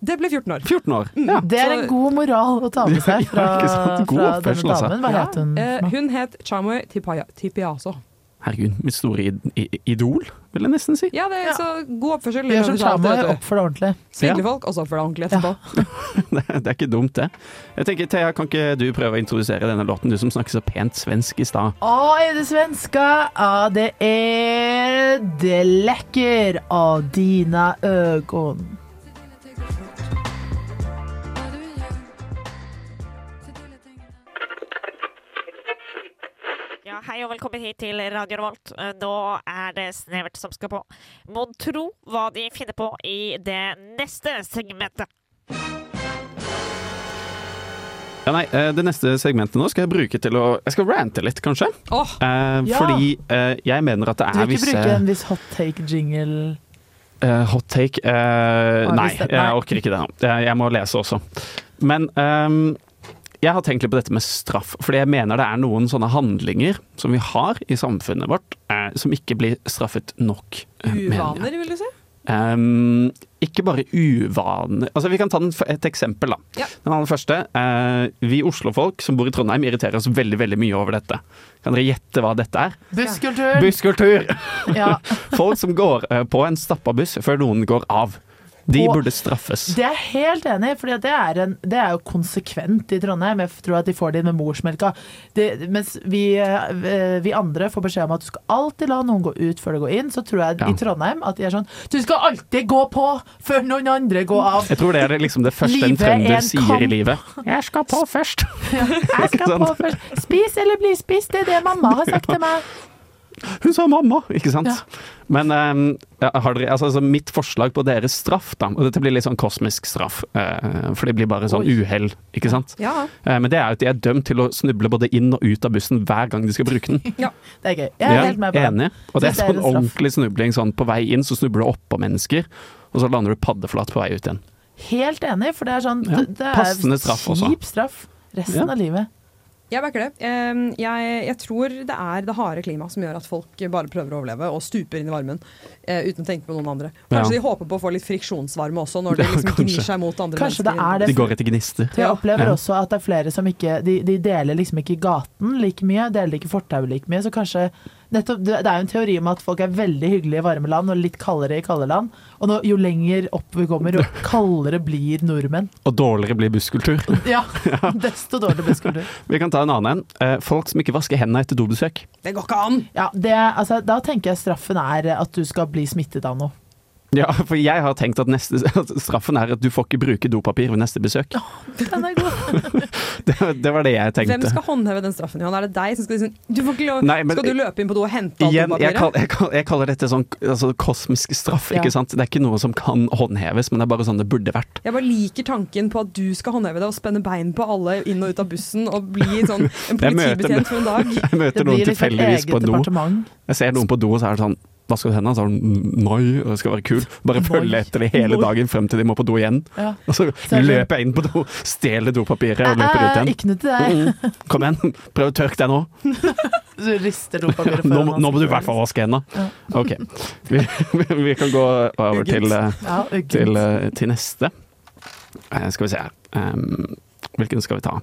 Det ble 14 år.
14 år. Mm, Ja.
Mm, Det er en god moral å ta med seg fra,
Ja, ikke sant? God
fra denne
oppførsel, altså.
damen. Hva het hun?
Eh,
for noe?
hun het Chamoy Tipaya- Tipiaso.
Herregud, mitt store id i- idol, vil jeg nesten si.
Ja, det er
Ja.
så god oppførsel.
Gjør som
Tjama,
Shamai,
vet du.
oppfør deg ordentlig.
Snille folk, og så oppfør deg ordentlig etterpå.
Det, det er ikke dumt, det. Jeg tenker, Thea, kan ikke du prøve å introdusere denne låten, du som snakker så pent svensk i stad?
Å, er det svenska? Ja, det er Det lekker av dine øgon.
Ja, hei og velkommen hit til Radio Revolt. Eh, Nå er det Snevert som skal på. Mon tro hva de finner på i det neste segmentet.
Ja, nei, eh, Det neste segmentet nå skal jeg bruke til å Jeg skal rante litt, kanskje.
Åh,
Eh,
Ja.
Fordi eh, jeg mener at det
Du
er
vil ikke
visse
bruke en viss hot take-jingle?
Eh, hot take? Eh, nei,
hvis det- nei.
jeg orker ikke det nå. Eh, Jeg må lese også. Men ehm, jeg har tenkt litt på dette med straff, fordi jeg mener det er noen sånne handlinger som vi har i samfunnet vårt, eh, som ikke blir straffet nok. eh, mener jeg.
uvaner, vil du si?
Ehm, ikke bare uvaner Altså, Vi kan ta den f- et eksempel. da.
Ja.
Den aller første. eh, vi oslofolk som bor i Trondheim, irriterer oss veldig veldig mye over dette. Kan dere gjette hva dette er?
Busskultur!
Busskultur!
Ja,
Folk som går eh, på en stappa buss før noen går av. De
Og-
burde straffes.
det er jeg helt enig i, for det, er en- det er jo konsekvent i Trondheim. Jeg tror at de får det inn med morsmelka. Det, mens vi, eh, vi andre får beskjed om at du skal alltid la noen gå ut før du går inn, så tror jeg
Ja.
i Trondheim at de er sånn Du skal alltid gå på før noen andre går av!
Jeg tror det er det- liksom det første en
Livet er
trønder
en
sier i
kamp.
livet. Jeg skal på først!
Jeg skal på først. Spis eller bli spist, det er det mamma har sagt til meg.
Hun sa mamma, ikke sant?
Ja.
Men ehm, har dere, altså, altså, mitt forslag på deres straff, da, og dette blir litt sånn kosmisk straff, eh, for det blir bare sånn uhell, ikke sant?
Ja.
Eh, men det er jo at de er dømt til å snuble både inn og ut av bussen hver gang de skal bruke den.
Det er gøy. Jeg er
Ja,
helt med på det.
Enig. Og det er
Synes det er
sånn
en straff.
ordentlig snubling. Sånn, på vei inn så snubler du oppå mennesker, og så lander du paddeflat på vei ut igjen.
Helt enig, for det er sånn
Ja,
det, det er
passende straff også.
kjip straff resten
Ja.
av livet.
Jeg merker det. Ehm, Jeg, jeg tror det er det harde klimaet som gjør at folk bare prøver å overleve og stuper inn i varmen eh, uten å tenke på noen andre.
Ja.
Kanskje de håper på å få litt friksjonsvarme også, når de
Ja,
liksom
kanskje.
gnir seg mot andre
Kanskje det
mennesker.
er det.
De går etter gnister.
For jeg
Ja.
opplever
Ja.
også at det er flere som ikke De, de deler liksom ikke gaten like mye, deler ikke fortauet like mye, så kanskje nettopp, Det det er jo en teori om at folk er veldig hyggelige i varme land og litt kaldere i kalde land. Og nå, jo lenger opp vi kommer, jo kaldere blir nordmenn.
Og dårligere blir busskultur.
Ja, Desto dårligere blir skolen.
Vi kan ta en annen en. Eh, folk som ikke vasker hendene etter dobesøk.
Det går ikke an!
Ja, det, altså, da tenker jeg straffen er at du skal bli smittet av noe.
Ja, for jeg har tenkt at, neste, at straffen er at du får ikke bruke dopapir ved neste besøk.
Den er god.
Det, det var det jeg
Hvem
tenkte.
skal håndheve den straffen, Johan? Er det deg som skal liksom du får ikke lov,
Nei, men-
Skal du løpe inn på do og hente alt
Igjen, jeg,
dopapiret?
kall, jeg, kall, jeg kaller dette sånn altså, kosmisk straff,
Ja.
ikke sant. Det er ikke noe som kan håndheves, men det er bare sånn det burde vært.
Jeg bare liker tanken på at du skal håndheve deg og spenne bein på alle inn og ut av bussen og bli sånn en
Jeg møter-
politibetjent for en dag.
Jeg
Det
møter noen
blir liksom et
tilfeldigvis
eget
på do.
departement.
Jeg ser noen på do, og så er det sånn Vasker du hendene? Så er hun Nei, det skal være kul. Bare
Noi.
følge etter de hele
Noi.
dagen frem til de må på do igjen.
Ja.
Og så
er det-
løper jeg inn på do, stjeler dopapiret og løper ut
Eh, eh,
igjen.
Ikke noe til deg.
Mm, Kom igjen, prøv å tørke deg nå.
Du rister dopapiret
Mm. Nå, må- nå må du i hvert fall vaske hendene.
Ja.
Ok, vi, vi- vi kan gå over til, eh,
ja, uggent.
til, eh, til neste. Eh, Skal vi se her. Ehm, hvilken skal vi ta?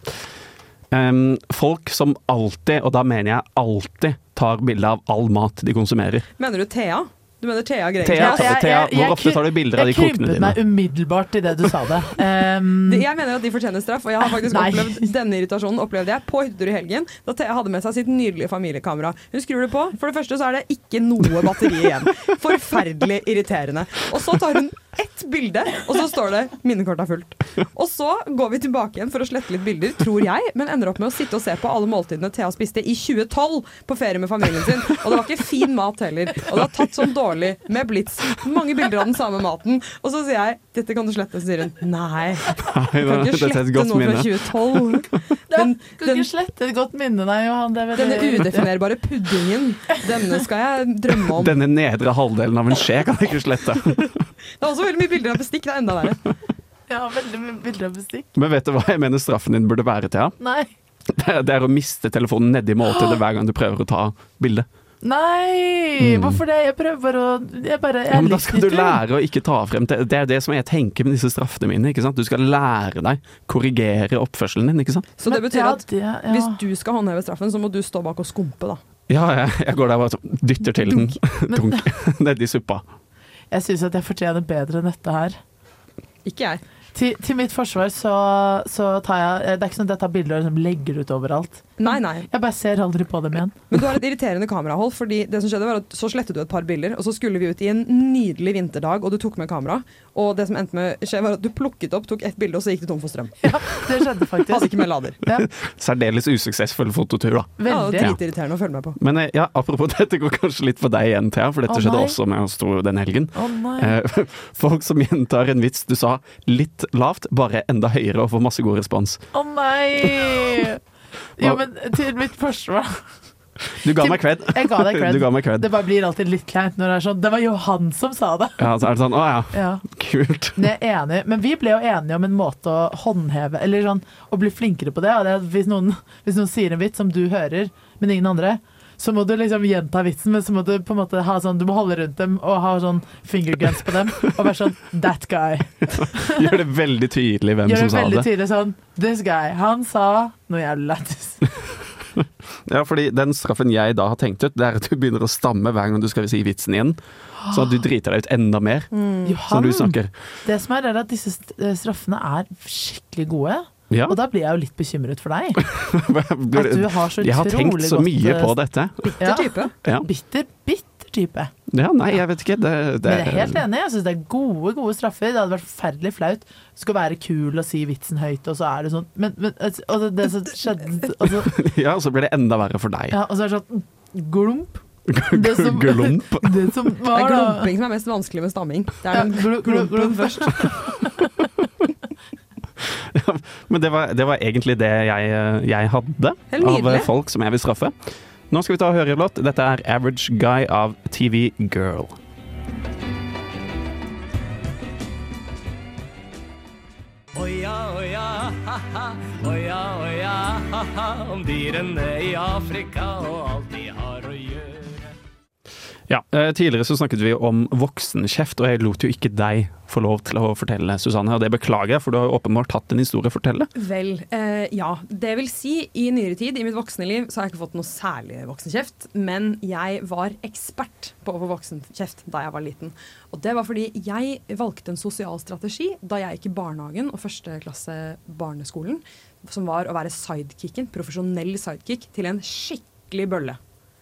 Ehm, folk som alltid, og da mener jeg alltid, tar bilde av all mat de konsumerer.
Mener du Thea? Du mener Thea Greger?
Thea,
jeg-
Thea,
jeg- jeg
hvor ofte tar du bilder av de
Jeg
kokene
krympet meg
dine?
umiddelbart i det du sa det. Um,
De- Jeg mener jo at de fortjener straff, og jeg har faktisk
Nei.
opplevd denne irritasjonen opplevde jeg på hyttetur i helgen, da Thea hadde med seg sitt nydelige familiekamera. Hun skrur det på. For det første så er det ikke noe batteri igjen. Forferdelig irriterende. Og så tar hun ett bilde, og så står det 'minnekortet er fullt'. Og så går vi tilbake igjen for å slette litt bilder, tror jeg, men ender opp med å sitte og se på alle måltidene Thea spiste i 2012 på ferie med familien sin. Og det var ikke fin mat heller. Og det var tatt sånn dårlig med blits. Mange bilder av den samme maten. Og så sier jeg 'dette kan du slette', så sier hun 'nei'.
Nei,
Du kan ikke
dette er et
slette
godt
noe fra
minne.
2012. Den,
kan
den,
ikke slette et godt minne, nei, Johan. Det er
denne
veldig-
udefinerbare puddingen, denne skal jeg drømme om.
Denne nedre halvdelen av en skje kan jeg ikke slette.
Det er også veldig mye bilder av bestikk, det er enda verre.
Ja, veldig mye bilder av bestikk.
Men vet du hva jeg mener straffen din burde være, Thea?
Nei.
Det er- Det er å miste telefonen nedi måltidet hver gang du prøver å ta bilde.
Nei! Hvorfor det? Jeg prøver bare å Jeg bare jeg
Mm. Ja,
er
men da skal du
livsnyter.
lære å ikke ta frem til Det er det som jeg tenker med disse straffene mine. ikke sant? Du skal lære deg korrigere oppførselen din, ikke sant?
Så det
Men-
betyr
ja,
at
det, ja.
hvis du skal håndheve straffen, så må du stå bak og skumpe, da.
Ja, jeg, jeg går der og bare sånn dytter til den. Dunk. Nedi suppa.
Jeg syns at jeg fortjener bedre enn dette her.
Ikke jeg.
Til, til mitt forsvar så, så tar jeg Det er ikke sånn at jeg tar bilder og liksom legger ut overalt.
Nei, nei.
Jeg bare ser aldri på dem igjen.
Men du har et irriterende kamerahold, fordi det som skjedde var at så slettet du et par bilder, og så skulle vi ut i en nydelig vinterdag, og du tok med kamera. Og det som endte med å skje, var at du plukket opp, tok ett bilde, og så gikk du tom for strøm.
Det skjedde
Hadde
faktisk.
ikke med lader.
Ja,
Særdeles usuksessfull fototur, da.
Ja, det
veldig.
var dritirriterende å følge med på.
Men eh, ja, apropos dette går kanskje litt på deg igjen, Thea, for dette
Å,
skjedde
nei.
også med oss to den helgen.
Å nei.
Eh, Folk som gjentar en vits du sa litt lavt, bare enda høyere og får masse god respons.
Å nei! Jo, men til mitt forsvar
Du ga meg cred.
Jeg ga deg cred.
Du ga meg cred.
Det bare blir alltid litt kleint når det er sånn Det var jo han som sa det!
Ja, så er det sånn Å ja,
Ja,
kult.
det er jeg enig. i. Men vi ble jo enige om en måte å håndheve Eller sånn, å bli flinkere på det. og det er at hvis, noen, hvis noen sier en vits som du hører, men ingen andre, så må du liksom gjenta vitsen, men så må du på en måte ha sånn Du må holde rundt dem og ha sånn fingerguns på dem og være sånn That guy.
Gjør det veldig tydelig hvem
Gjør
som
det
sa
veldig
det.
tydelig sånn This guy. Han sa noe jævlig lættis.
Ja, fordi den straffen jeg da har tenkt ut, det er at du begynner å stamme hver gang du skal si vitsen igjen. Sånn at du driter deg ut enda mer når
Mm.
Mm.
Johan!
du snakker.
Det som er, er at disse st- eh, straffene er skikkelig gode.
Ja.
Og da blir jeg jo litt bekymret for deg. At du
Jeg
har så
har tenkt
utrolig
så
godt,
mye
eh,
på dette.
Ja.
Bitter type.
Ja.
Bitter, bitter type.
ja, nei, jeg vet ikke. Det, det,
Men jeg er helt enig. Jeg syns det er gode gode straffer. Det hadde vært forferdelig flaut. Du skal være kul og si vitsen høyt, og så er det sånn men, men, altså, Og det- det som skjedde og så,
Ja, så blir det enda verre for deg.
altså, ja, og så er det sånn glump. Det som-
Glump.
Det som
Det
var
er
da
glumping som er mest vanskelig med stamming. Det
ja,
er den
glu- glu-
glumpen
glump.
først.
Men det var, det var egentlig det jeg, eh, jeg hadde
Helt
av eh,
nydelig.
folk som jeg vil straffe. Nå skal vi ta og høre en låt. Dette er Average Guy av TV Girl. Ja, eh, Tidligere så snakket vi om voksenkjeft, og jeg lot jo ikke deg få lov til å fortelle, Susanne. Og det beklager jeg, for du har jo åpenbart hatt en historie å fortelle.
Vel, eh, ja. Det vil si, i nyere tid, i mitt voksne liv, så har jeg ikke fått noe særlig voksenkjeft. Men jeg var ekspert på å få voksenkjeft da jeg var liten. Og det var fordi jeg valgte en sosial strategi da jeg gikk i barnehagen og første klasse barneskolen, som var å være sidekicken, profesjonell sidekick, til en skikkelig bølle.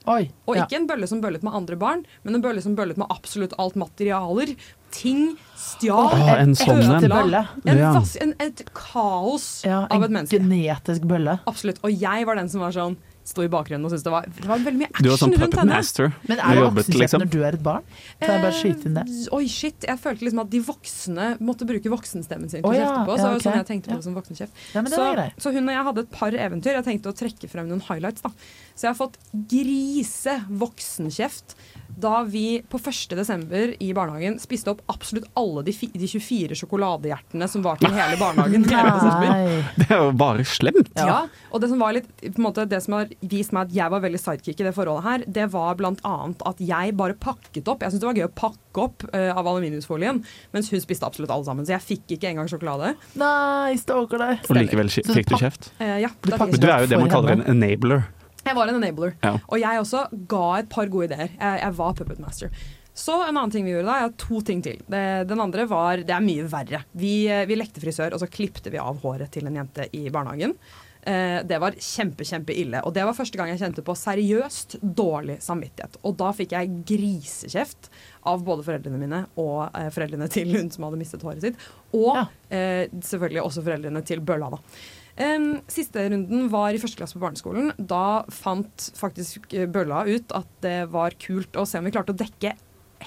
Oi.
Og
ja.
ikke en bølle som bøllet med andre barn, men en bølle som bøllet med absolutt alt materialer. Ting, stjal,
Å, en sånn
ødela
en.
bølle.
en
Ja.
vas- en, et kaos
Ja,
av et
en
menneske.
genetisk bølle.
Absolutt. Og jeg var den som var sånn sto i bakgrunnen og syntes det var, det var veldig mye
Du var
action
sånn
rundt
puppet
henne.
master.
Men
Du
er det
jobbet,
voksenkjeft
liksom.
når du er et barn? Kan jeg bare
Eh,
skyte inn det?
Oi, shit. Jeg følte liksom at de voksne måtte bruke voksenstemmen sin til å
Å, ja.
kjefte på. Så
Ja,
det var jo
ok.
sånn jeg tenkte på
Ja.
det som voksenkjeft.
Ja, men det
så,
var greit.
så hun og jeg hadde et par eventyr. Jeg tenkte å trekke frem noen highlights. da. Så jeg har fått grise voksenkjeft da vi på 1. desember i barnehagen spiste opp absolutt alle de, fi, de 24 sjokoladehjertene som var til hele barnehagen. i hele desember.
Nei.
Det er jo bare slemt.
Ja. og det som, var litt, på en måte, det som har vist meg at jeg var veldig sidekick i det forholdet her, det var blant annet at jeg bare pakket opp. Jeg syntes det var gøy å pakke opp eh, av aluminiumsfolien, mens hun spiste absolutt alle sammen. Så jeg fikk ikke engang sjokolade.
Nei, stalker deg.
Og likevel
Så
fikk du
pak-
kjeft.
Eh, ja,
Du
da fikk
pakket
Men
jeg
du er jo det man
For
kaller en
henne.
enabler.
Jeg var en enabler.
Ja.
Og jeg også ga et par gode ideer. Jeg, jeg var puppet master. Så en annen ting vi gjorde da, jeg har to ting til. Det, den andre var Det er mye verre. Vi, eh, vi lekte frisør, og så klipte vi av håret til en jente i barnehagen. Eh, det var kjempe, kjempe ille. Og det var første gang jeg kjente på seriøst dårlig samvittighet. Og da fikk jeg grisekjeft av både foreldrene mine og eh, foreldrene til hun som hadde mistet håret sitt. Og
Ja.
eh, selvfølgelig også foreldrene til Bølla, da. Em, siste runden var i første klasse på barneskolen. Da fant faktisk eh, Bølla ut at det var kult å se om vi klarte å dekke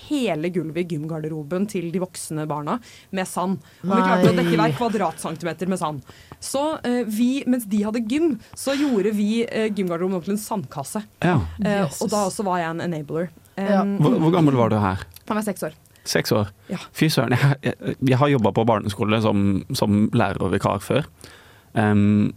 hele gulvet i gymgarderoben til de voksne barna med sand. Om vi klarte å
Nei.
dekke hver kvadratcentimeter med sand. Så eh, vi, mens de hadde gym, så gjorde vi eh, gymgarderoben om til en sandkasse.
Ja.
Eh,
Jesus.
og da også var jeg en enabler. Em,
Ja.
Hvor, hvor gammel var du her?
Han var seks år.
Seks år?
Ja.
Fy søren. Jeg, jeg, jeg har jobba på barneskole som, som lærer og vikar før. Ehm,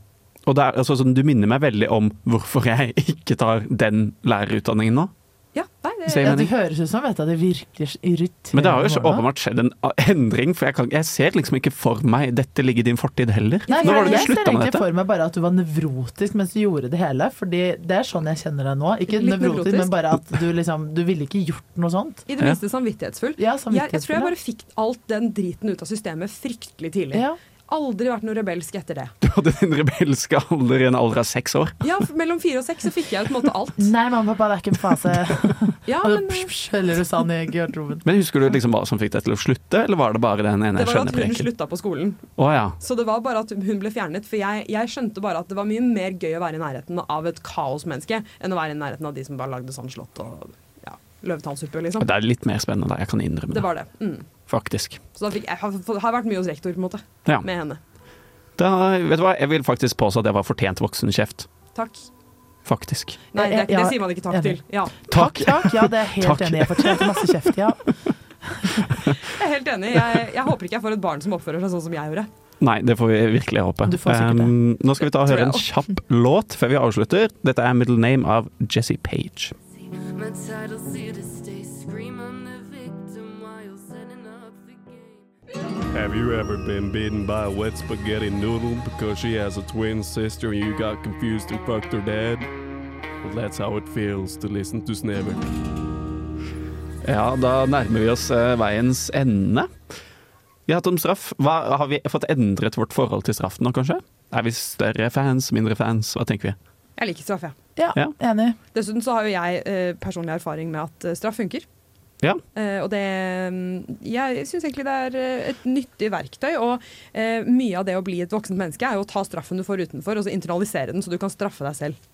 og det er, altså, sånn, du minner meg veldig om hvorfor jeg ikke tar den lærerutdanningen nå.
Ja, nei, det,
Ser jeg
Ja, det
mening?
høres ut som vet jeg, det virker så irriterende.
Men det har jo så
nå, da.
åpenbart skjedd en endring, for jeg, kan, jeg ser liksom ikke for meg 'dette ligger i din fortid' heller.
Nei,
Når var det du
jeg ser
slutta med
egentlig
dette?
for meg bare at du var nevrotisk mens du gjorde det hele. Fordi det er sånn jeg kjenner deg nå. Ikke
Litt
nevrotisk,
nevrotisk.
men bare at du liksom Du ville ikke gjort noe sånt.
I det minste samvittighetsfull. Jeg, jeg
Ja,
tror jeg
samvittighetsfull,
bare fikk alt den driten ut av systemet fryktelig tidlig.
ja.
Aldri vært noe rebelsk etter det.
Du hadde din rebelske alder i en alder av seks år.
Ja, f- Mellom fire og seks så fikk jeg på en måte alt.
Nei, mamma og pappa, det er ikke en fase.
Ja,
Og
men
psh,
eh,
psh, Heller du sand i garderoben.
Men husker du liksom hva som fikk deg til å slutte, eller var det bare den ene
eh, det var jo at hun
skjønnepreken?
slutta på skolen.
Å ja.
Så det var bare at hun ble fjernet. For jeg, jeg skjønte bare at det var mye mer gøy å være i nærheten av et kaosmenneske enn å være i nærheten av de som bare lagde sånn slott og ja, løvetannsuppe, liksom.
Det er litt mer spennende, da. Jeg kan innrømme
Det
det,
var det. Mm.
faktisk.
Så da fikk, jeg har, fått- har vært mye hos rektor, på en måte,
Ja.
med henne.
Da, vet du hva, jeg vil faktisk påstå at jeg var fortent voksenkjeft.
Takk.
Faktisk.
Nei, det, er, ikke-
Ja,
det sier man ikke takk
enig.
til. Ja,
Takk, takk. Ja, det er jeg helt
Takk.
enig i. Jeg fortjente masse kjeft, ja.
jeg er helt enig. Jeg, jeg håper ikke jeg får et barn som oppfører seg sånn som jeg gjorde.
Nei, det får vi virkelig håpe.
Du får sikkert det.
Ehm, nå skal vi ta og
Tror
høre
jeg
en kjapp låt før vi avslutter. Dette er 'Middle Name' av Jesse Page.
My title see to stay. Scream, I'm the victim while you're setting up the game.
Have you ever been bitten by a wet spaghetti noodle because she has a twin sister and you got confused and fucked her dad? Well, that's how it feels to listen to Snevert.
Ja, da nærmer vi oss eh, veiens ende. Vi har hatt om straff. Hva, har vi fått endret vårt forhold til straff nå, kanskje? Er vi større fans, mindre fans? Hva tenker vi?
Jeg liker straff, jeg.
Ja,
Ja.
enig.
Dessuten så har jo jeg eh, personlig erfaring med at eh, straff funker.
Ja.
Eh, og det mm, Jeg syns egentlig det er eh, et nyttig verktøy. Og eh, mye av det å bli et voksent menneske er jo å ta straffen du får utenfor, og så internalisere den så du kan straffe deg selv.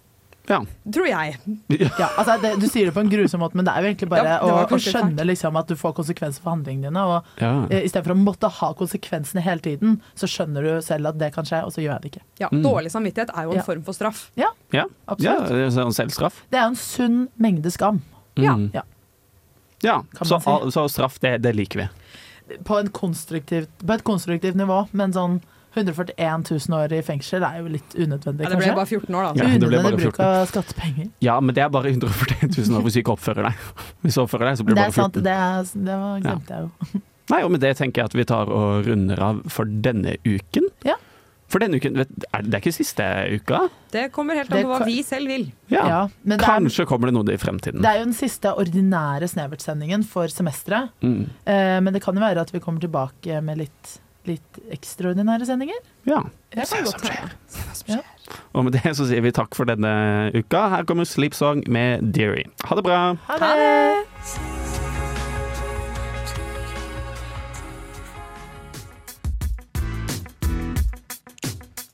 Ja.
Tror jeg.
Ja, altså det, du sier det på en grusom måte, men det er jo egentlig bare
Ja, det var
å, å
kanskje litt
skjønne liksom, at du får konsekvenser for handlingene dine. Og
Ja.
eh, istedenfor å måtte ha konsekvensene hele tiden, så skjønner du selv at det kan skje, og så gjør jeg det ikke.
Ja,
Mm.
Dårlig samvittighet er jo en
Ja.
form for straff.
Ja,
Ja, ja
Absolutt.
sånn selvstraff.
Det er jo en sunn mengde skam.
Ja.
Mm.
Ja.
ja.
Kan
Så,
man si.
så straff, det, det liker vi.
På, en konstruktivt- på et konstruktivt nivå, men sånn 141 000 år i fengsel er jo litt unødvendig,
Ja, det ble
kanskje.
bare 14 år, da.
Ja, det ble bare
Unødvendig bruk
14.
av skattepenger.
Ja, men det er bare 140 000 år hvis du ikke oppfører deg. Hvis du oppfører deg, så blir du
Det er
bare
sant,
14.
det, er, det var, glemte jeg jo.
Nei, og med det tenker jeg at vi tar og runder av for denne uken.
Ja.
For denne uken, vet, er, det er ikke siste uka?
Det kommer helt an
Det
på hva
kan-
vi selv vil.
Ja.
Ja, men det er,
Kanskje kommer det noe i fremtiden.
det er jo den siste ordinære Snevert-sendingen for semesteret.
Mm.
Eh, Men det kan jo være at vi kommer tilbake med litt, litt ekstraordinære sendinger.
Ja.
Det
Se
kan
hva
godt
som skjer.
Ja.
Og med det så sier vi takk for denne uka. Her kommer Sleep Song med Deary. Ha det bra.
Ha det!